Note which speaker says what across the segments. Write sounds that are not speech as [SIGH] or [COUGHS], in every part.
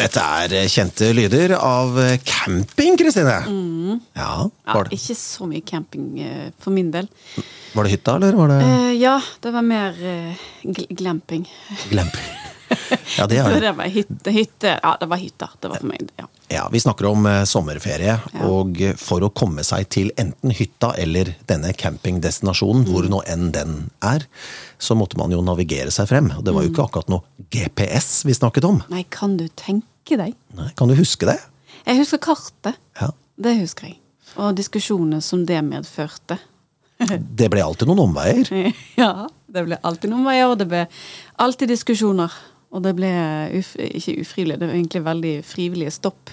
Speaker 1: Dette er eh, kjente lyder av eh, camping, Kristine. Ja,
Speaker 2: Mm. Ja,
Speaker 1: var det,
Speaker 2: ikke så mye camping eh, for min del.
Speaker 1: var det hytta, eller var det
Speaker 2: Eh, ja, det var mer eh, gl- glamping. [LAUGHS]
Speaker 1: glamping? Ja, det er
Speaker 2: Så
Speaker 1: det.
Speaker 2: det var hytte, hytte. Ja, det var hytter. Det var for meg, ja.
Speaker 1: Ja, vi snakker om eh, sommerferie, og eh, for å komme seg til enten hytta eller denne
Speaker 2: Mm.
Speaker 1: campingdestinasjonen, hvor nå enn den er, så måtte man jo navigere seg frem. Og det var jo
Speaker 2: Mm.
Speaker 1: ikke akkurat noe GPS vi snakket om.
Speaker 2: Nei, kan du tenke deg?
Speaker 1: Nei, kan du huske det?
Speaker 2: Jeg husker kartet. [LAUGHS]
Speaker 1: Ja.
Speaker 2: Det husker jeg. Og diskusjoner som det medførte.
Speaker 1: Det ble alltid noen omveier.
Speaker 2: [LAUGHS] ja, det ble alltid noen veier, og det ble alltid diskusjoner. Og det ble uf ikke ufrivillig, det var egentlig veldig frivillige stopp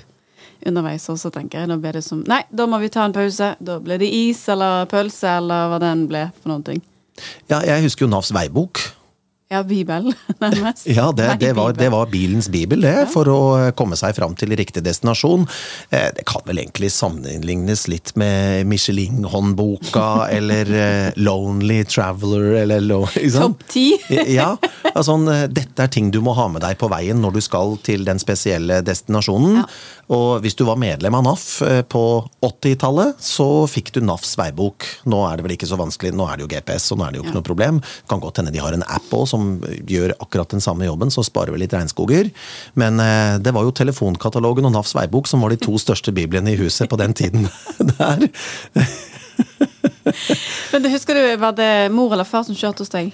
Speaker 2: underveis også, tenker jeg. Da ble det som Nei, da må vi ta en pause. Da ble det is eller pølse eller hva den ble for noen ting.
Speaker 1: Ja, jeg husker jo Navs veibok.
Speaker 2: Ja, Bibel, [LAUGHS] nærmest.
Speaker 1: Ja, det,
Speaker 2: Nei,
Speaker 1: det, var,
Speaker 2: Bibel.
Speaker 1: det var bilens bibel, det, for å eh, komme seg fram til riktig destinasjon. Eh, Det kan vel egentlig sammenlignes litt med Michelin-håndboka, [LAUGHS] eller eh, Lonely Traveler, eller lo- ikke sant?
Speaker 2: Topp ti.
Speaker 1: Ja, altså, sånn, eh, dette er ting du må ha med deg på veien når du skal til den spesielle destinasjonen. Og hvis du var medlem av NAF eh, på 80-tallet, så fikk du NAFs veibok. Nå er det vel ikke så vanskelig, nå er det jo GPS, og nå er det jo ikke noe problem. Kan godt hende de har en app òg som gjør akkurat den samme jobben, så sparer vi litt regnskoger. Men eh, det var jo telefonkatalogen og NAFs veibok som var de to største biblene i huset på den tiden [LAUGHS] der.
Speaker 2: Men du, husker du, var det mor eller far som kjørte hos deg?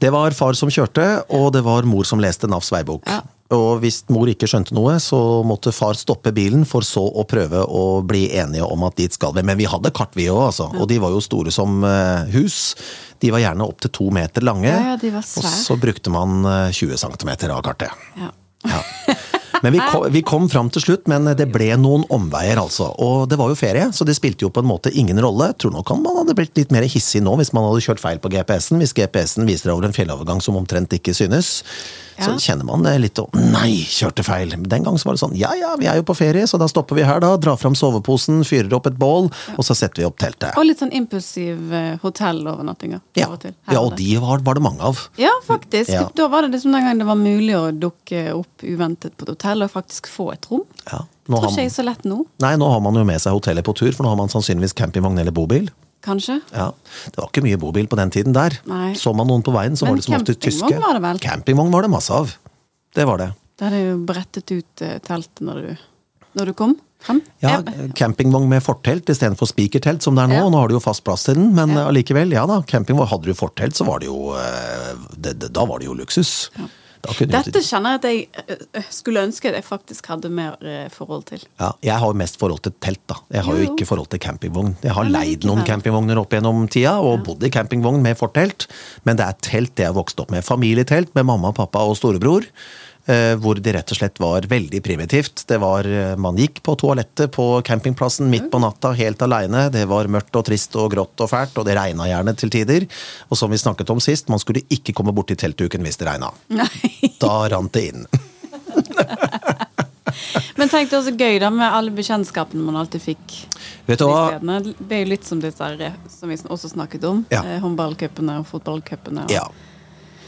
Speaker 1: Det var far som kjørte, og det var mor som leste NAFs veibok.
Speaker 2: Ja.
Speaker 1: Og hvis mor ikke skjønte noe, så måtte far stoppe bilen for så å prøve å bli enige om at dit skal vi. Men vi hadde kart, vi òg, altså. Og de var jo store som eh, hus. De var gjerne opptil to meter lange.
Speaker 2: Ja, ja, de var
Speaker 1: og
Speaker 2: svære.
Speaker 1: så brukte man eh, 20 cm av kartet.
Speaker 2: Ja.
Speaker 1: Ja. Men vi kom, vi kom fram til slutt, men det ble noen omveier, altså. Og det var jo ferie, så det spilte jo på en måte ingen rolle. Tror nok han man hadde blitt litt mer hissig nå hvis man hadde kjørt feil på GPS-en. Hvis GPS-en viser deg over en fjellovergang som omtrent ikke synes, så
Speaker 2: Ja.
Speaker 1: kjenner man det litt og Nei, kjørte feil! Men Den gang så var det sånn Ja ja, vi er jo på ferie, så da stopper vi her, da. Drar fram soveposen, fyrer opp et bål, og så setter vi opp teltet.
Speaker 2: Og litt sånn impulsiv eh, hotellovernattinger.
Speaker 1: Ja,
Speaker 2: av og til. Her
Speaker 1: ja
Speaker 2: og
Speaker 1: og
Speaker 2: der.
Speaker 1: de var, var det mange av.
Speaker 2: Ja, faktisk.
Speaker 1: Ja.
Speaker 2: Da var det liksom den gangen det var mulig å dukke opp uventet på et hotell og faktisk få et rom.
Speaker 1: Ja. Nå
Speaker 2: Tror
Speaker 1: har,
Speaker 2: ikke jeg er så lett nå,
Speaker 1: nei, nå har man jo med seg hotellet på tur, for nå har man sannsynligvis campingvogn eller bobil.
Speaker 2: kanskje.
Speaker 1: Ja, Det var ikke mye bobil på den tiden der.
Speaker 2: Nei.
Speaker 1: Så man noen på veien, så
Speaker 2: Men
Speaker 1: var det som oftest tyske.
Speaker 2: campingvogn var det vel?
Speaker 1: Campingvogn var det masse av. Det var det.
Speaker 2: Da hadde jeg jo brettet ut eh, teltet når du, når du kom frem.
Speaker 1: Ja,
Speaker 2: Jeg-
Speaker 1: Campingvogn med fortelt istedenfor spikertelt, som det er nå.
Speaker 2: Ja.
Speaker 1: Nå har du jo fast plass til den, men eh, allikevel. Ja da, campingvogn. Hadde du fortelt, så var det jo eh, det, det, Da var det jo luksus. Da kunne du-
Speaker 2: Dette kjenner jeg at jeg eh, eh, skulle ønske at jeg faktisk hadde mer eh, forhold til. [LAUGHS]
Speaker 1: Ja, jeg har jo mest forhold til telt, da. Jeg har jo,
Speaker 2: Jo.
Speaker 1: ikke forhold til campingvogn. Jeg har
Speaker 2: Ja, men
Speaker 1: leid noen
Speaker 2: likevel.
Speaker 1: campingvogner opp gjennom tida, og bodd i campingvogn med fortelt, men det er telt det jeg vokste opp med. Familietelt med mamma, pappa og storebror. eh, Hvor det rett og slett var veldig primitivt. Det var, eh, Man gikk på toalettet på campingplassen midt på natta helt aleine. Det var mørkt og trist og grått og fælt, og det regna gjerne til tider. Og som vi snakket om sist, man skulle ikke komme borti teltduken hvis det regna.
Speaker 2: Nei.
Speaker 1: Da rant det
Speaker 2: [LAUGHS]
Speaker 1: inn.
Speaker 2: Men tenk det er også gøy da med alle bekjentskapene man alltid fikk.
Speaker 1: Vet du
Speaker 2: de
Speaker 1: hva?
Speaker 2: stedene. Det er jo litt som disse her, eh, som vi også snakket om.
Speaker 1: Ja.
Speaker 2: eh, Håndballcupene og fotballcupene. og-
Speaker 1: Ja.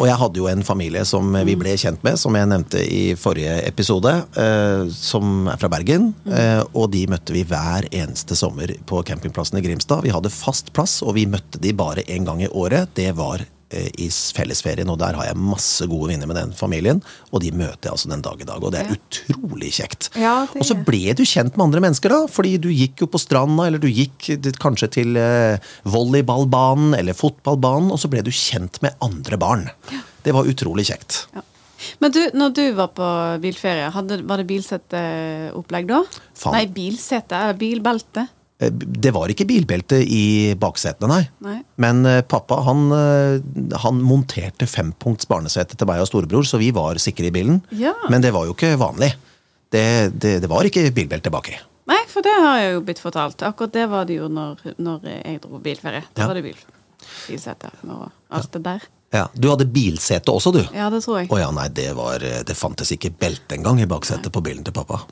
Speaker 1: Og jeg hadde jo en familie som vi
Speaker 2: Mm.
Speaker 1: ble kjent med, som jeg nevnte i forrige episode, eh, som er fra Bergen.
Speaker 2: Mm.
Speaker 1: eh, og de møtte vi hver eneste sommer på campingplassen i Grimstad. Vi hadde fast plass, og vi møtte de bare én gang i året. Det var eh, i s- fellesferien, og der har jeg masse gode venner med den familien. Og de møter jeg altså den dag i dag, og det er
Speaker 2: Ja.
Speaker 1: utrolig kjekt.
Speaker 2: Ja, det
Speaker 1: og så
Speaker 2: er-
Speaker 1: ble du kjent med andre mennesker, da? Fordi du gikk jo på stranda, eller du gikk dit- kanskje til eh, volleyballbanen eller fotballbanen, og så ble du kjent med andre barn. Det var utrolig kjekt.
Speaker 2: Ja. Men du, når du var på bilferie, hadde, var det bilseteopplegg da?
Speaker 1: Faen.
Speaker 2: Nei, bilsete eller bilbelte?
Speaker 1: Eh, Det var ikke bilbelte i baksetene, nei.
Speaker 2: Nei.
Speaker 1: Men eh, pappa han, eh, han monterte fempunkts barnesete til meg og storebror, så vi var sikre i bilen.
Speaker 2: Ja.
Speaker 1: Men det var jo ikke vanlig. Det, det, det var ikke bilbelte baki.
Speaker 2: Nei, for det har jeg jo blitt fortalt. Akkurat det var det jo når, når jeg dro bilferie. Da
Speaker 1: Ja.
Speaker 2: var det bil, bilsete og alt det der.
Speaker 1: Ja. Du hadde bilsete også, du.
Speaker 2: Ja, det tror jeg.
Speaker 1: Å ja, nei, det, var, eh, det fantes ikke belte engang i baksetet på bilen til pappa.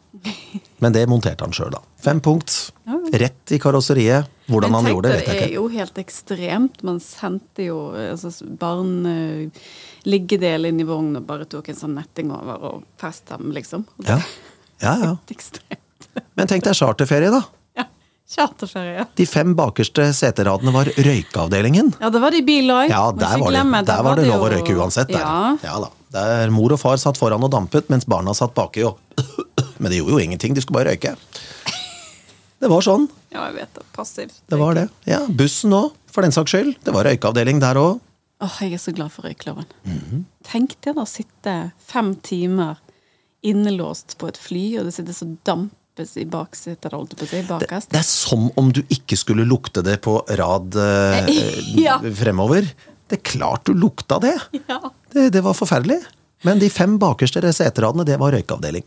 Speaker 1: Men det monterte han sjøl, da. Fem punkt. Rett i karosseriet. Hvordan han
Speaker 2: Men
Speaker 1: gjorde det, vet
Speaker 2: tenk
Speaker 1: jeg
Speaker 2: er
Speaker 1: ikke.
Speaker 2: jo helt ekstremt. Man sendte jo eh, altså, barn eh, liggedel inn i vogn og bare tok en sånn netting over og festet dem, liksom. Og det
Speaker 1: Ja. Ja, ja.
Speaker 2: er ekstremt.
Speaker 1: Men tenk deg charterferie, da.
Speaker 2: Ja. Charterferie.
Speaker 1: De fem bakerste seteradene var røykeavdelingen.
Speaker 2: Ja, da var det i bil òg.
Speaker 1: Ja, der var, det, der var det lov å røyke uansett. Der.
Speaker 2: Ja.
Speaker 1: Ja. da. Der mor og far satt foran og dampet, mens barna satt baki og [COUGHS] Men det gjorde jo ingenting, de skulle bare røyke. Det var sånn.
Speaker 2: ja, jeg vet det. Passivt.
Speaker 1: Det var det. Ja, Bussen òg, for den saks skyld. Det var røykeavdeling der òg.
Speaker 2: Åh, jeg er så glad for røykloven.
Speaker 1: Mhm.
Speaker 2: Tenk deg da å sitte fem timer innelåst på et fly, og det sitter så dampes i baksetet, holdt jeg på å si, bakerst.
Speaker 1: Det er som om du ikke skulle lukte det på rad eh,
Speaker 2: [LAUGHS] Ja.
Speaker 1: fremover. Det er klart du lukta det.
Speaker 2: [LAUGHS] Ja.
Speaker 1: det! Det var forferdelig. Men de fem bakerste seteradene, det var røykeavdeling.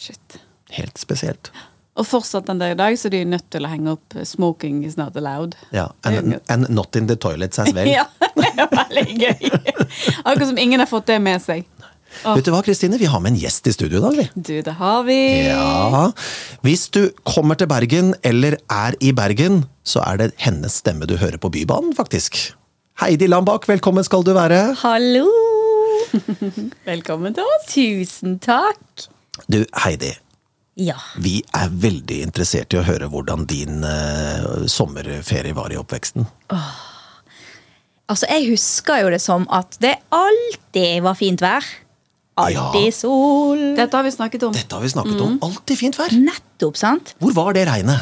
Speaker 2: Shit.
Speaker 1: Helt spesielt.
Speaker 2: Og fortsatt den der i dag, så de er nødt til å henge opp eh, 'smoking is not allowed'.
Speaker 1: Ja,
Speaker 2: Det er jo
Speaker 1: and,
Speaker 2: gøy.
Speaker 1: and not in the toilets as well.
Speaker 2: [LAUGHS] Ja, det er veldig gøy. Akkurat som ingen har fått det med seg.
Speaker 1: Vet du hva, Kristine? Vi har med en gjest i studio i dag, vi.
Speaker 2: Du, det har vi.
Speaker 1: Ja. Hvis du kommer til Bergen, eller er i Bergen, så er det hennes stemme du hører på Bybanen, faktisk. Heidi Lambakk, velkommen skal du være.
Speaker 3: Hallo!
Speaker 2: [LAUGHS] Velkommen til oss.
Speaker 3: Tusen takk.
Speaker 1: Du, Heidi.
Speaker 3: Ja.
Speaker 1: Vi er veldig interessert i å høre hvordan din eh, sommerferie var i oppveksten.
Speaker 3: Altså, jeg husker jo det som at det alltid var fint vær. Alltid
Speaker 1: Ja.
Speaker 3: sol.
Speaker 2: Dette har vi snakket om.
Speaker 1: Dette har vi snakket
Speaker 3: Mm.
Speaker 1: om. Alltid fint vær.
Speaker 3: Nettopp, sant?
Speaker 1: Hvor var det regnet?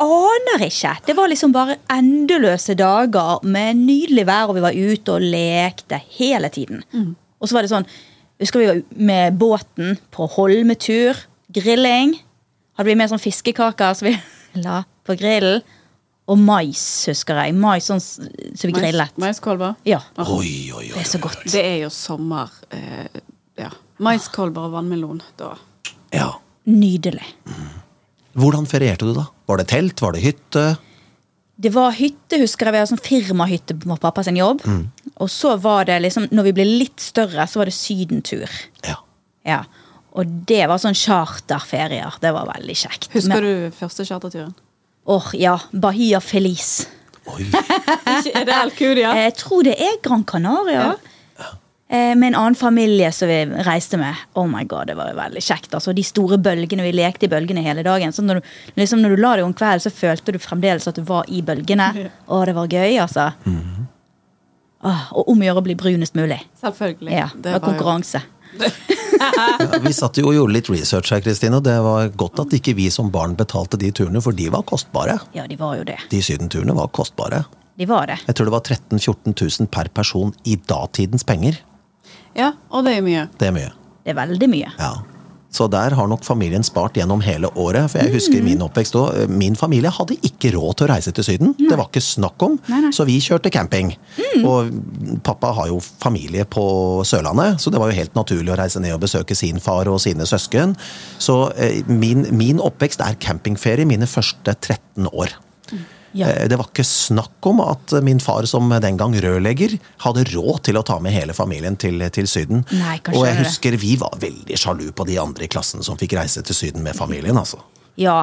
Speaker 3: Aner ikke. Det var liksom bare endeløse dager med nydelig vær, og vi var ute og lekte hele tiden. Og så var det sånn Husker vi var med båten på holmetur. Grilling. Hadde vi med sånn fiskekaker som vi [LAUGHS] la på grillen. Og mais, husker jeg. Mais sånn s- som vi grillet.
Speaker 2: Maiskolber.
Speaker 3: Ja.
Speaker 1: Oi, oi,
Speaker 3: Det
Speaker 1: oi.
Speaker 3: er så godt.
Speaker 2: Det er jo sommer. Eh, ja. Maiskolber og vannmelon. Da.
Speaker 1: Ja.
Speaker 3: Nydelig.
Speaker 1: Hvordan ferierte du, da? Var det telt? Var det hytte?
Speaker 3: Det var hytte, husker jeg. Vi hadde sånn firmahytte på pappa sin jobb. Og så var det liksom, når vi ble litt større, så var det sydentur.
Speaker 1: Ja.
Speaker 3: Ja. Og det var sånn charterferier. Det var veldig kjekt.
Speaker 2: Husker
Speaker 3: Men-
Speaker 2: du første charterturen?
Speaker 3: Åh, ja. Bahia Feliz.
Speaker 1: Oi.
Speaker 2: Ikke- Er det Alcudia?
Speaker 3: Eh, Jeg tror det er Gran Canaria. Eh, Med en annen familie som vi reiste med. Oh my god, Det var jo veldig kjekt. Altså, de store bølgene, Vi lekte i bølgene hele dagen. Så når du, liksom, når du la deg om kvelden, så følte du fremdeles at du var i bølgene. Å, det var gøy, altså. Åh, og om å gjøre å bli brunest mulig.
Speaker 2: Selvfølgelig.
Speaker 3: Ja, det var
Speaker 2: jo-
Speaker 3: konkurranse.
Speaker 1: Ja, vi satt jo og gjorde litt research her, Kristine, og det var godt at ikke vi som barn betalte de turene, for de var kostbare.
Speaker 3: Ja, de var jo det.
Speaker 1: De sydenturene var kostbare.
Speaker 3: De var det.
Speaker 1: Jeg tror det var 13 000-14 000 per person i datidens penger.
Speaker 2: Ja, og det er mye.
Speaker 1: Det er mye.
Speaker 3: Det er veldig mye.
Speaker 1: Ja. Så der har nok familien spart gjennom hele året. For jeg husker i min oppvekst også, eh, Min familie hadde ikke råd til å reise til Syden. Det var ikke snakk om. Så vi kjørte camping. Og pappa har jo familie på Sørlandet, så det var jo helt naturlig å reise ned og besøke sin far og sine søsken. Så eh, min, min oppvekst er campingferie mine første 13 år.
Speaker 3: Ja.
Speaker 1: Eh, Det var ikke snakk om at eh, min far, som den gang rørlegger, hadde råd til å ta med hele familien til, til Syden.
Speaker 3: Nei, kanskje
Speaker 1: og jeg
Speaker 3: det.
Speaker 1: husker vi var veldig sjalu på de andre i klassen som fikk reise til Syden med familien. altså.
Speaker 3: Ja,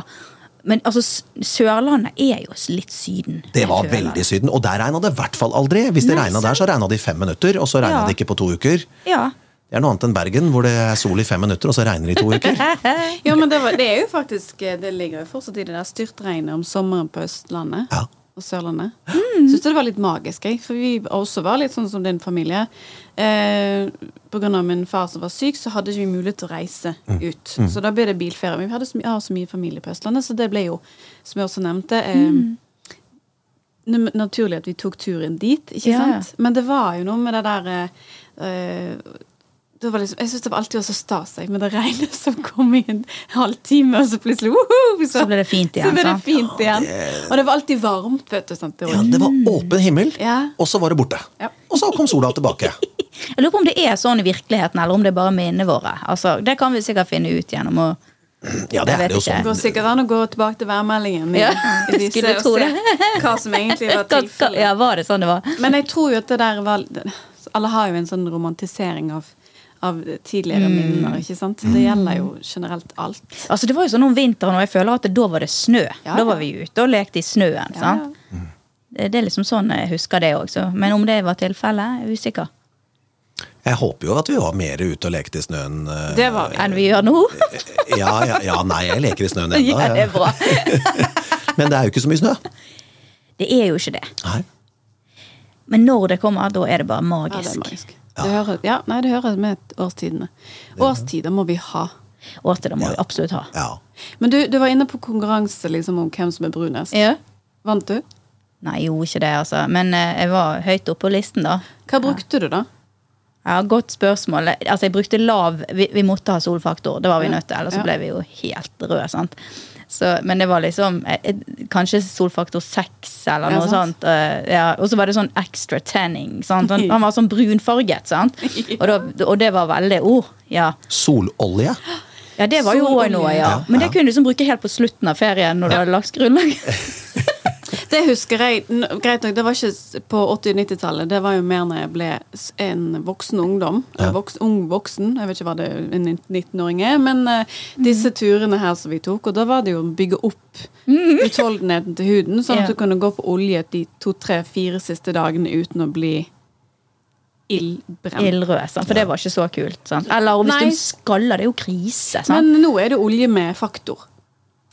Speaker 3: Men altså, S- Sørlandet er jo litt Syden.
Speaker 1: Det var
Speaker 3: Jeg føler.
Speaker 1: veldig Syden, og der regna det i hvert fall aldri. Hvis det
Speaker 3: Nei,
Speaker 1: regna der, så regna det i fem minutter, og så regna
Speaker 3: Ja.
Speaker 1: det ikke på to uker.
Speaker 3: Ja.
Speaker 1: Det er noe annet enn Bergen, hvor det er sol i fem minutter, og så regner det i to
Speaker 3: [LAUGHS]
Speaker 1: uker.
Speaker 2: [LAUGHS] Jo, men det, var, det er jo faktisk eh, Det ligger jo fortsatt i det der styrtregnet om sommeren på Østlandet
Speaker 1: Ja.
Speaker 2: og Sørlandet. Syns det var litt magisk, jeg. For vi også var litt sånn som din familie. Eh, på grunn av min far som var syk, så hadde ikke vi mulighet til å reise ut. Så da ble det bilferie. Men vi hadde så, my- har så mye familie på Østlandet, så det ble jo, som jeg også nevnte eh, n- Naturlig at vi tok turen dit, ikke
Speaker 3: Ja.
Speaker 2: sant? Men det var jo noe med det der eh, eh, det var liksom, jeg syns det var alltid var så stas jeg, med det regnet [LAUGHS] som kom i en halvtime, og så plutselig woho,
Speaker 3: Så ble det fint igjen,
Speaker 2: Så ble det
Speaker 3: sant?
Speaker 2: fint igjen. Og det var alltid varmt, vet du. sant? Det var-
Speaker 1: Ja, det var
Speaker 3: Mm.
Speaker 1: åpen himmel,
Speaker 2: Ja.
Speaker 1: og så var det borte.
Speaker 2: Ja.
Speaker 1: Og så kom sola tilbake. [CLEARS THROAT]
Speaker 3: Jeg lurer på om det er sånn i virkeligheten, eller om det er bare minnene våre. Altså, det kan vi sikkert finne ut gjennom å
Speaker 1: Ja, det
Speaker 3: Jeg
Speaker 1: er
Speaker 3: vet
Speaker 1: det jo
Speaker 3: ikke.
Speaker 2: Det går
Speaker 1: sånn.
Speaker 2: sikkert an å gå tilbake til værmeldingen i-
Speaker 3: [LAUGHS] Ja,
Speaker 2: i disse
Speaker 3: skulle
Speaker 2: og
Speaker 3: tro
Speaker 2: se
Speaker 3: det.
Speaker 2: hva som egentlig var
Speaker 3: [LAUGHS] Hva- hva-
Speaker 2: tilfellet.
Speaker 3: Ja, var det sånn det var?
Speaker 2: Men jeg tror jo at det der var det- Alle har jo en sånn romantisering av, av tidligere
Speaker 3: Mm.
Speaker 2: minner, ikke sant? Det gjelder jo generelt alt.
Speaker 3: Altså Det var jo sånn om vinteren, og jeg føler at da var det snø.
Speaker 2: Ja,
Speaker 3: Da var
Speaker 2: ja.
Speaker 3: vi ute og lekte i snøen.
Speaker 2: Ja,
Speaker 3: sant? Det, det er liksom sånn jeg husker det også. Men om det var tilfellet, er jeg usikker.
Speaker 1: Jeg håper jo at vi var mer ute og lekte i snøen. eh,
Speaker 2: Det var vi.
Speaker 3: Enn vi gjør nå.
Speaker 1: Ja, ja, ja, nei, jeg leker i snøen
Speaker 3: [LAUGHS] ja,
Speaker 1: ennå.
Speaker 3: det er
Speaker 1: jeg.
Speaker 3: bra.
Speaker 1: Men det er jo ikke så mye snø.
Speaker 3: Det er jo ikke det.
Speaker 1: Nei.
Speaker 3: Men når det kommer, da er det bare
Speaker 2: Ja, det er
Speaker 3: magisk.
Speaker 2: magisk. Det hører, ja, nei, det hører med årstidene. Årstider må vi ha.
Speaker 3: Og at det må vi absolutt ha.
Speaker 1: Ja.
Speaker 2: Men du, du var inne på konkurranse liksom, om hvem som er brunest.
Speaker 3: Ja.
Speaker 2: Vant du?
Speaker 3: Nei, jo, ikke det, altså. Men eh, jeg var høyt oppe på listen, da.
Speaker 2: Hva brukte du, da?
Speaker 3: Ja, Godt spørsmål. Altså, jeg brukte lav Vi, vi måtte ha solfaktor, det var
Speaker 2: Ja.
Speaker 3: vi nødt til. Ellers så
Speaker 2: Ja.
Speaker 3: ble vi jo helt røde. sant? Så, men det var liksom eh, eh, kanskje solfaktor seks eller
Speaker 2: Ja,
Speaker 3: noe
Speaker 2: sant.
Speaker 3: sånt. eh, ja. Og så var det sånn extra
Speaker 2: [LAUGHS]
Speaker 3: tanning. sant? Han, han var sånn brunfarget, sant? Og, da, og det var veldig Å, ja.
Speaker 1: Sololje.
Speaker 3: Ja, det var jo
Speaker 2: Sololje.
Speaker 3: også noe, ja.
Speaker 1: Ja,
Speaker 3: Men det
Speaker 1: ja.
Speaker 3: kunne du liksom bruke helt på slutten av ferien, når du hadde lagt grunnlaget.
Speaker 2: Det husker jeg. N greit nok, det var ikke s- på 80- og 90-tallet. Det var jo mer når jeg ble s- en voksen ungdom. En Voks, ung voksen. Jeg vet ikke hva det en 19-åring er. Men eh, disse turene her som vi tok, og da var det jo å bygge opp Mhm. utholdenheten til huden, sånn
Speaker 3: Ja.
Speaker 2: at du kunne gå på olje de to, tre, fire siste dagene uten å bli ildbrent.
Speaker 3: Ildrød, sant? for det var ikke så kult. sant? Eller hvis
Speaker 2: Nei.
Speaker 3: du skaller, det er jo krise. sant?
Speaker 2: Men nå er det olje med faktor.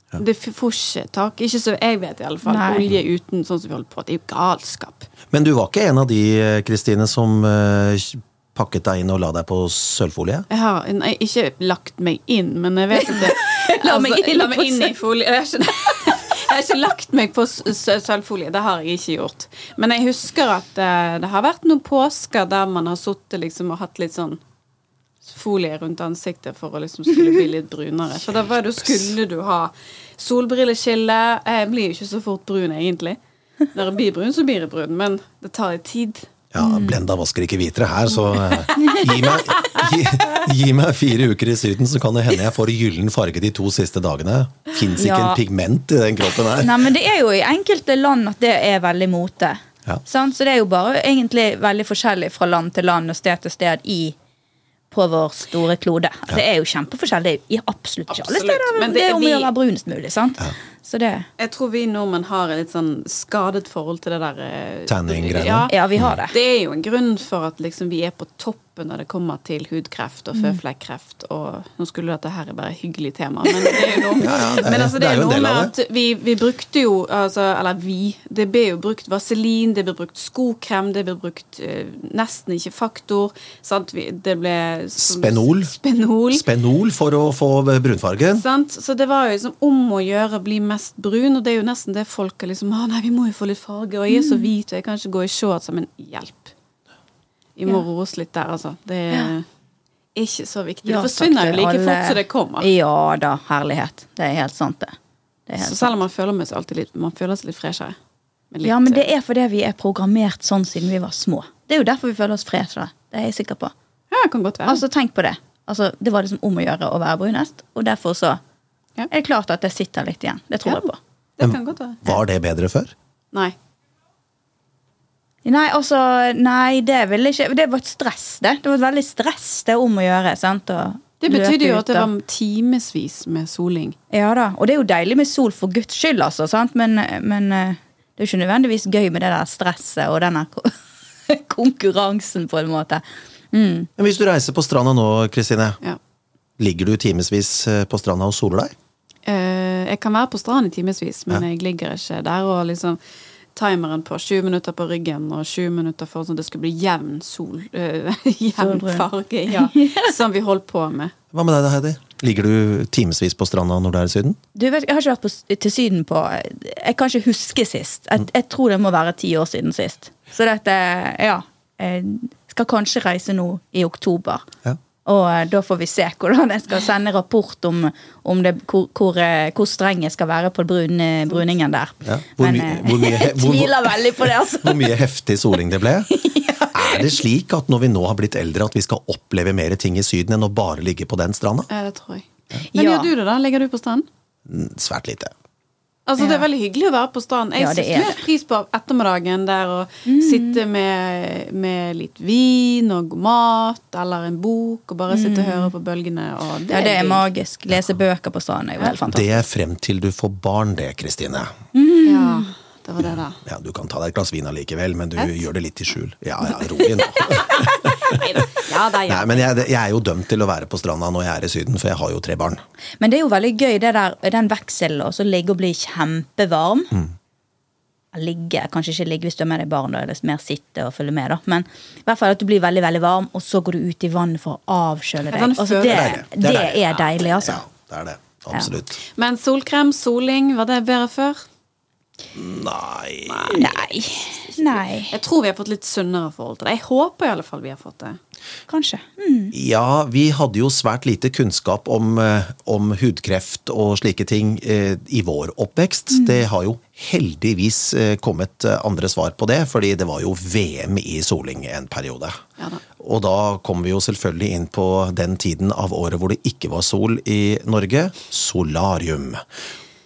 Speaker 2: Det f- får ikke tak. Ikke så jeg vet, i alle fall.
Speaker 3: Nei.
Speaker 2: Olje uten sånn som vi holder på. Det er jo galskap.
Speaker 1: Men du var ikke en av de, Kristine, som eh, pakket deg inn og la deg på sølvfolie?
Speaker 2: Jeg har nei, ikke lagt meg inn, men jeg vet at det
Speaker 3: [LAUGHS]
Speaker 2: [LAUGHS] Altså,
Speaker 3: La meg inn
Speaker 2: la meg
Speaker 3: på
Speaker 2: inn i folie. Jeg har ikke, [LAUGHS] jeg har ikke lagt meg på s- s- sølvfolie. Det har jeg ikke gjort. Men jeg husker at eh, det har vært noen påsker der man har sittet liksom og hatt litt sånn folie rundt ansiktet for å liksom skulle bli litt brunere. For da var det, jo- skulle du ha solbrilleskille. Jeg blir jo ikke så fort brun, egentlig. Når jeg blir brun, så blir jeg brun, men det tar litt tid.
Speaker 1: Ja,
Speaker 3: Mm.
Speaker 1: Blenda vasker ikke hvitere her, så eh, gi meg, gi, gi meg fire uker i Syden, så kan det hende jeg får gyllen farge de to siste dagene. Fins ikke
Speaker 3: Ja.
Speaker 1: en pigment i den kroppen her.
Speaker 3: Nei, men det er jo i enkelte land at det er veldig mote.
Speaker 1: Ja.
Speaker 3: Sant? Så det er jo bare egentlig veldig forskjellig fra land til land og sted til sted i på vår store klode. Det er jo kjempeforskjellig i absolutt ikke alle
Speaker 2: Absolutt,
Speaker 3: steder.
Speaker 2: men
Speaker 3: Men
Speaker 2: det-
Speaker 3: det, er jo om å
Speaker 2: vi-
Speaker 3: gjøre å være brunest mulig. sant? Så det,
Speaker 2: Jeg tror vi nordmenn har et litt sånn skadet forhold til det der eh,
Speaker 1: Tanning-greiene.
Speaker 2: Ja,
Speaker 3: ja, vi har det.
Speaker 2: Det er jo en grunn for at liksom vi er på toppen når det kommer til hudkreft og føflekkreft og Nå skulle dette her være et hyggelig tema, men det er jo
Speaker 1: [LAUGHS]
Speaker 2: noe,
Speaker 1: Ja, ja, det er-
Speaker 2: men altså, det
Speaker 1: det er
Speaker 2: er
Speaker 1: jo en
Speaker 2: noe
Speaker 1: del
Speaker 2: med
Speaker 1: av
Speaker 2: at vi, vi brukte jo altså, Eller vi. Det ble jo brukt vaselin, det ble brukt skokrem, det ble brukt eh, nesten ikke faktor. Sant? Vi, det ble som-
Speaker 1: Spenol.
Speaker 2: Spenol.
Speaker 1: Spenol for å få brunfargen.
Speaker 2: Sant? Så det var jo liksom om å gjøre å bli mest brun, og det er jo nesten det folk er liksom Å, nei, vi må jo få litt farge, og jeg er
Speaker 3: Mm.
Speaker 2: så hvit, og jeg kan ikke gå i shorts. Men hjelp. Vi må
Speaker 3: Ja.
Speaker 2: roe oss litt der, altså. Det er ikke så viktig.
Speaker 3: Ja,
Speaker 2: det forsvinner
Speaker 3: takk
Speaker 2: jo
Speaker 3: til
Speaker 2: like
Speaker 3: alle.
Speaker 2: fort som det kommer.
Speaker 3: Ja da, herlighet. Det er helt sant, det. det
Speaker 2: Så
Speaker 3: er helt sant.
Speaker 2: selv om man føler med seg alltid litt Man føler seg litt freshere. Med litt,
Speaker 3: Ja, men det er fordi vi er programmert sånn siden vi var små. Det er jo derfor vi føler oss freshere. Det er jeg sikker på.
Speaker 2: ja, det kan godt være.
Speaker 3: Altså, tenk på det. Altså, det var liksom om å gjøre å være brunest, og derfor så
Speaker 2: Ja.
Speaker 3: er det klart at det sitter litt igjen. Det tror
Speaker 2: Ja.
Speaker 3: jeg på.
Speaker 2: det kan godt være.
Speaker 1: Var det bedre før?
Speaker 2: Nei.
Speaker 3: Nei, altså, nei, det ville ikke Det var et stress, det. Det var et veldig stress, det om å gjøre. sant? Og
Speaker 2: Det
Speaker 3: løpe
Speaker 2: betydde jo
Speaker 3: ut
Speaker 2: at det
Speaker 3: og-
Speaker 2: var timevis med soling.
Speaker 3: Ja da. Og det er jo deilig med sol, for guds skyld, altså, sant? Men, men eh, det er jo ikke nødvendigvis gøy med det der stresset og denne ko- [LAUGHS] konkurransen, på en måte. Mm.
Speaker 1: Men hvis du reiser på stranda nå, Kristine,
Speaker 2: Ja.
Speaker 1: ligger du timevis eh, på stranda og soler deg?
Speaker 2: Eh, jeg kan være på stranden i timevis, men jeg ligger ikke der. Og liksom timeren på sju minutter på ryggen og sju minutter for sånn at det skulle bli jevn sol eh, [LAUGHS] Jevn
Speaker 3: Solbrun.
Speaker 2: farge,
Speaker 3: [LAUGHS]
Speaker 2: ja. Som vi holdt på med.
Speaker 1: Hva med deg da, Heidi? Ligger du timevis på stranda når du er i Syden?
Speaker 3: Du vet, Jeg har ikke vært på, s- til Syden på Jeg kan ikke huske sist. Jeg, jeg tror det må være ti år siden sist. Så dette, eh, ja Jeg skal kanskje reise nå i oktober.
Speaker 1: Ja.
Speaker 3: Og eh, da får vi se hvordan jeg skal sende rapport om, om det, hvor, hvor, eh, hvor streng jeg skal være på brune, bruningen der.
Speaker 1: Ja. Hvor
Speaker 3: Men
Speaker 1: mye-
Speaker 3: eh, [LAUGHS]
Speaker 1: hvor mye-
Speaker 3: jeg
Speaker 1: hvor-
Speaker 3: tviler veldig på det, altså.
Speaker 1: Hvor mye heftig soling [LAUGHS] det ble? Er det slik at når vi nå har blitt eldre, at vi skal oppleve mer ting i Syden enn å bare ligge på den stranda?
Speaker 2: Ja, det tror jeg. Men
Speaker 3: Ja.
Speaker 2: gjør du det, da? Ligger du på stranden?
Speaker 1: Mm, Svært lite.
Speaker 2: Altså, Det er veldig hyggelig å være på stranden. Jeg
Speaker 3: Ja, det
Speaker 2: setter
Speaker 3: er Mm.
Speaker 2: mer pris på ettermiddagen der å sitte med, med litt vin og god mat eller en bok og bare sitte og høre på bølgene. Og det,
Speaker 3: Mm. Ja, det er
Speaker 2: digg.
Speaker 3: magisk. Lese bøker på stranden er jo helt fantastisk.
Speaker 1: Det er Mm. frem til du får barn, det, Kristine.
Speaker 2: Ja,
Speaker 3: Mm.
Speaker 2: det var det, da.
Speaker 1: Ja, du kan ta deg et glass vin allikevel, men du gjør det litt i skjul. Ja, [LAUGHS] ja, rolig nå.
Speaker 2: Ja, det er
Speaker 1: Nei, men jeg, jeg er jo dømt til å være på stranda når jeg er i Syden, for jeg har jo tre barn.
Speaker 3: Men det er jo veldig gøy, det der, den vekselen også, ligge og bli kjempevarm.
Speaker 1: Mm.
Speaker 3: Ligge, kanskje ikke ligge hvis du har med deg barn, da, eller mer sitte og følge med, da. Men i hvert fall at du blir veldig, veldig varm, og så går du ut i vannet for å avkjøle deg.
Speaker 2: Vann
Speaker 3: Altså,
Speaker 2: før-
Speaker 3: det,
Speaker 1: Det er deilig.
Speaker 3: det
Speaker 1: Det er
Speaker 3: er deilig, altså.
Speaker 1: Ja, det er det. Absolutt.
Speaker 2: Men solkrem, soling, var det bedre før?
Speaker 1: Nei
Speaker 3: Nei. Nei.
Speaker 2: Jeg tror vi har fått litt sunnere forhold til det. Jeg håper i alle fall vi har fått det.
Speaker 3: Kanskje. Mm.
Speaker 1: Ja, vi hadde jo svært lite kunnskap om, eh, om hudkreft og slike ting eh, i vår oppvekst. Det har jo heldigvis eh, kommet eh, andre svar på det, fordi det var jo VM i soling en periode.
Speaker 2: Ja da.
Speaker 1: Og da kom vi jo selvfølgelig inn på den tiden av året hvor det ikke var sol i Norge. Solarium.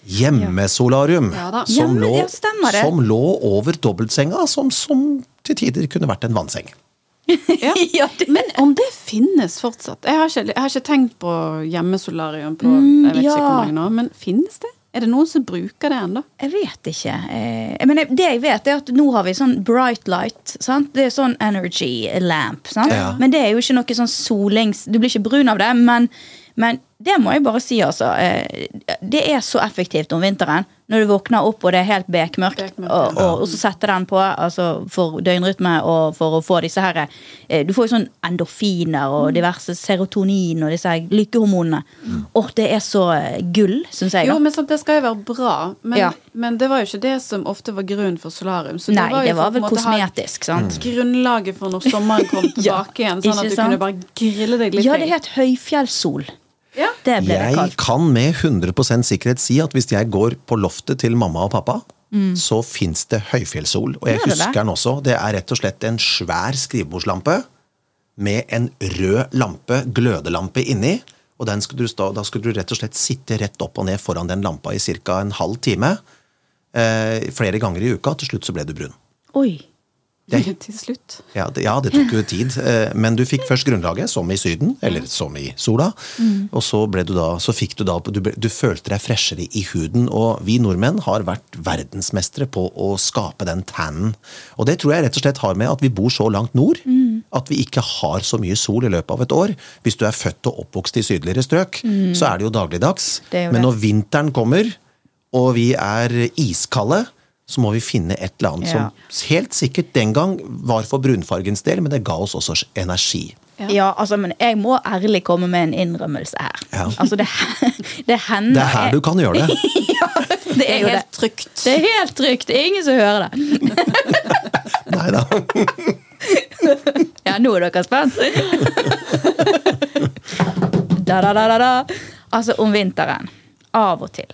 Speaker 1: Hjemmesolarium,
Speaker 2: Ja da.
Speaker 1: som,
Speaker 3: Ja, men
Speaker 1: lå,
Speaker 3: ja, stemmer det.
Speaker 1: som lå over dobbeltsenga, som, som til tider kunne vært en vannseng.
Speaker 2: Ja.
Speaker 3: [LAUGHS] Ja, det-
Speaker 2: Men om det finnes fortsatt Jeg har ikke, jeg har ikke tenkt på hjemmesolarium på jeg vet
Speaker 3: Mm, ja.
Speaker 2: ikke hvor mange nå, men finnes det? Er det noen som bruker det ennå?
Speaker 3: Jeg vet ikke. Eh, men det jeg vet, er at nå har vi sånn bright light. Sant? Det er sånn energy lamp. Sant?
Speaker 1: Ja.
Speaker 3: Men det er jo ikke noe sånn solings Du blir ikke brun av det, men, men det må jeg bare si, altså. Eh, det er så effektivt om vinteren. Når du våkner opp og det er helt bekmørkt,
Speaker 2: Bekmørkt, ja.
Speaker 3: og, og, og så setter den på altså for døgnrytme og for å få disse her eh, Du får jo sånn endorfiner
Speaker 2: Mm.
Speaker 3: og diverse serotonin og disse her lykkehormonene. Åh, det er så eh, gull, syns jeg. da.
Speaker 2: Jo, men sant, Det skal jo være bra, men,
Speaker 3: Ja.
Speaker 2: men det var jo ikke det som ofte var grunnen for solarium. Så
Speaker 3: Nei,
Speaker 2: jo
Speaker 3: det
Speaker 2: for å på en
Speaker 3: var vel
Speaker 2: måte ha Mm.
Speaker 3: kosmetisk, sant?
Speaker 2: Grunnlaget for når sommeren
Speaker 3: [LAUGHS]
Speaker 2: kom
Speaker 3: Ja,
Speaker 2: tilbake igjen, sånn
Speaker 3: ikke
Speaker 2: at du
Speaker 3: sant?
Speaker 2: kunne bare grille deg litt.
Speaker 3: Ja, det
Speaker 2: til.
Speaker 3: het høyfjellssol.
Speaker 2: ja.
Speaker 3: Det ble
Speaker 1: Jeg
Speaker 3: det kalt.
Speaker 1: kan med 100 sikkerhet si at hvis jeg går på loftet til mamma og pappa, så fins det høyfjellssol. Og jeg
Speaker 3: Mm. Gjør det det?
Speaker 1: husker den også. Det er rett og slett en svær skrivebordslampe med en rød lampe, glødelampe, inni. Og den skulle du stå, da skulle du rett og slett sitte rett opp og ned foran den lampa i ca. en halv time. Eh, flere ganger i uka. Til slutt så ble du brun.
Speaker 3: Oi.
Speaker 2: [LAUGHS] til slutt.
Speaker 1: Ja det, ja, det tok jo tid, eh, men du fikk først grunnlaget, som i Syden, eller som i sola.
Speaker 3: Mm.
Speaker 1: Og så, ble du da, så fikk du da du, ble, du følte deg freshere i huden, og vi nordmenn har vært verdensmestere på å skape den tannen. Og det tror jeg rett og slett har med at vi bor så langt nord
Speaker 3: Mm.
Speaker 1: at vi ikke har så mye sol i løpet av et år. Hvis du er født og oppvokst i sydligere strøk, så er det jo dagligdags.
Speaker 3: Mm. Det er jo
Speaker 1: Men
Speaker 3: det.
Speaker 1: når vinteren kommer, og vi er iskalde, så må vi finne et eller annet
Speaker 3: Ja.
Speaker 1: som helt sikkert den gang var for brunfargens del, men det ga oss også energi.
Speaker 2: Ja.
Speaker 3: Ja, altså, men jeg må ærlig komme med en innrømmelse her.
Speaker 1: Ja.
Speaker 3: Altså, det, [LAUGHS] det hender
Speaker 1: Det er her du kan gjøre det.
Speaker 3: Det
Speaker 2: Det
Speaker 3: er
Speaker 2: er
Speaker 3: jo det.
Speaker 2: helt trygt.
Speaker 3: Det er helt trygt. Det er ingen som hører det.
Speaker 1: Nei da.
Speaker 3: Ja, nå er dere spent. da, da, da, da, da. Altså, om vinteren, av og til,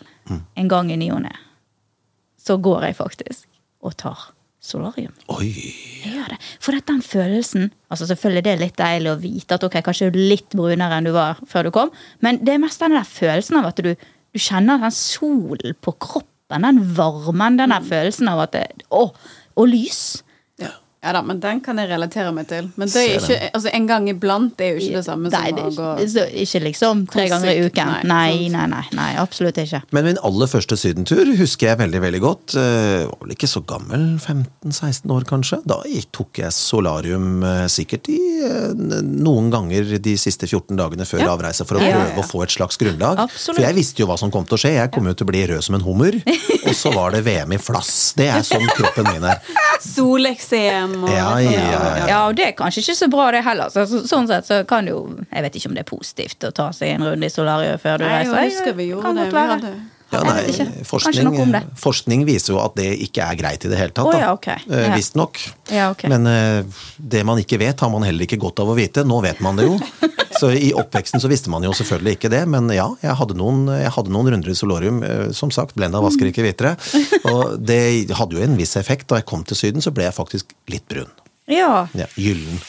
Speaker 3: en gang i ny og ne, så går jeg faktisk og tar solarium.
Speaker 1: Oi.
Speaker 3: Jeg gjør det. For at den følelsen altså Selvfølgelig det er litt deilig å vite at ok, kanskje du er litt brunere enn du var før du kom, men det er mest den der følelsen av at du, du kjenner den solen på kroppen, den varmen, den der følelsen av at det, å, Og lys.
Speaker 2: Ja. ja da, men den kan jeg relatere meg til. Men det
Speaker 1: Ser
Speaker 2: er ikke,
Speaker 1: den.
Speaker 2: altså En gang iblant er jo ikke det samme
Speaker 3: Nei,
Speaker 2: som
Speaker 3: det
Speaker 2: å
Speaker 3: er ikke,
Speaker 2: gå
Speaker 3: så, ikke liksom tre
Speaker 2: Konsert,
Speaker 3: ganger i uken.
Speaker 2: nei,
Speaker 3: Nei,
Speaker 2: sant.
Speaker 3: nei, nei, nei, absolutt ikke.
Speaker 1: Men min aller første sydentur husker jeg veldig veldig godt. Eh, var vel ikke så gammel, 15-16 år kanskje. Da gikk- tok jeg solarium eh, sikkert i eh, n- noen ganger de siste 14 dagene før
Speaker 2: Ja.
Speaker 1: avreise, for å
Speaker 3: Ja, ja,
Speaker 1: prøve
Speaker 3: ja.
Speaker 1: å få et slags grunnlag.
Speaker 3: Absolutt.
Speaker 1: For jeg visste jo hva som kom til å skje. Jeg kom jo til å bli rød som en
Speaker 3: [LAUGHS]
Speaker 1: hummer. Og så var det VM i flass. Det er sånn kroppen min er.
Speaker 2: Soleksem og sånn.
Speaker 1: Ja, ja, ja.
Speaker 3: Ja, og det er kanskje ikke så bra, det heller. Så, så, sånn sett så kan det jo Jeg vet ikke om det er positivt å ta seg en runde i solariet før du
Speaker 2: Nei,
Speaker 3: reiser.
Speaker 2: jo, jeg husker vi gjorde
Speaker 3: Kan
Speaker 2: det.
Speaker 3: godt
Speaker 2: Vi
Speaker 3: være.
Speaker 2: hadde
Speaker 1: Ja,
Speaker 3: Jeg vet
Speaker 1: nei,
Speaker 3: ikke. Kanskje
Speaker 1: forskning,
Speaker 3: noe om det.
Speaker 1: forskning viser jo at det ikke er greit i det hele tatt.
Speaker 3: Å,
Speaker 1: da.
Speaker 3: ja, ok.
Speaker 1: Eh,
Speaker 3: Ja.
Speaker 1: Visstnok.
Speaker 3: Ja, ok.
Speaker 1: Men eh, det man ikke vet, har man heller ikke godt av å vite. Nå vet man det
Speaker 3: [LAUGHS]
Speaker 1: jo. Så i oppveksten så visste man jo selvfølgelig ikke det, men ja, jeg hadde noen, jeg hadde noen runder i solarium. eh, Som sagt, Blenda vasker ikke
Speaker 3: [LAUGHS]
Speaker 1: hvitere. Og det hadde jo en viss effekt. Da jeg kom til Syden, så ble jeg faktisk litt brun.
Speaker 3: Ja.
Speaker 1: Ja, gyllen.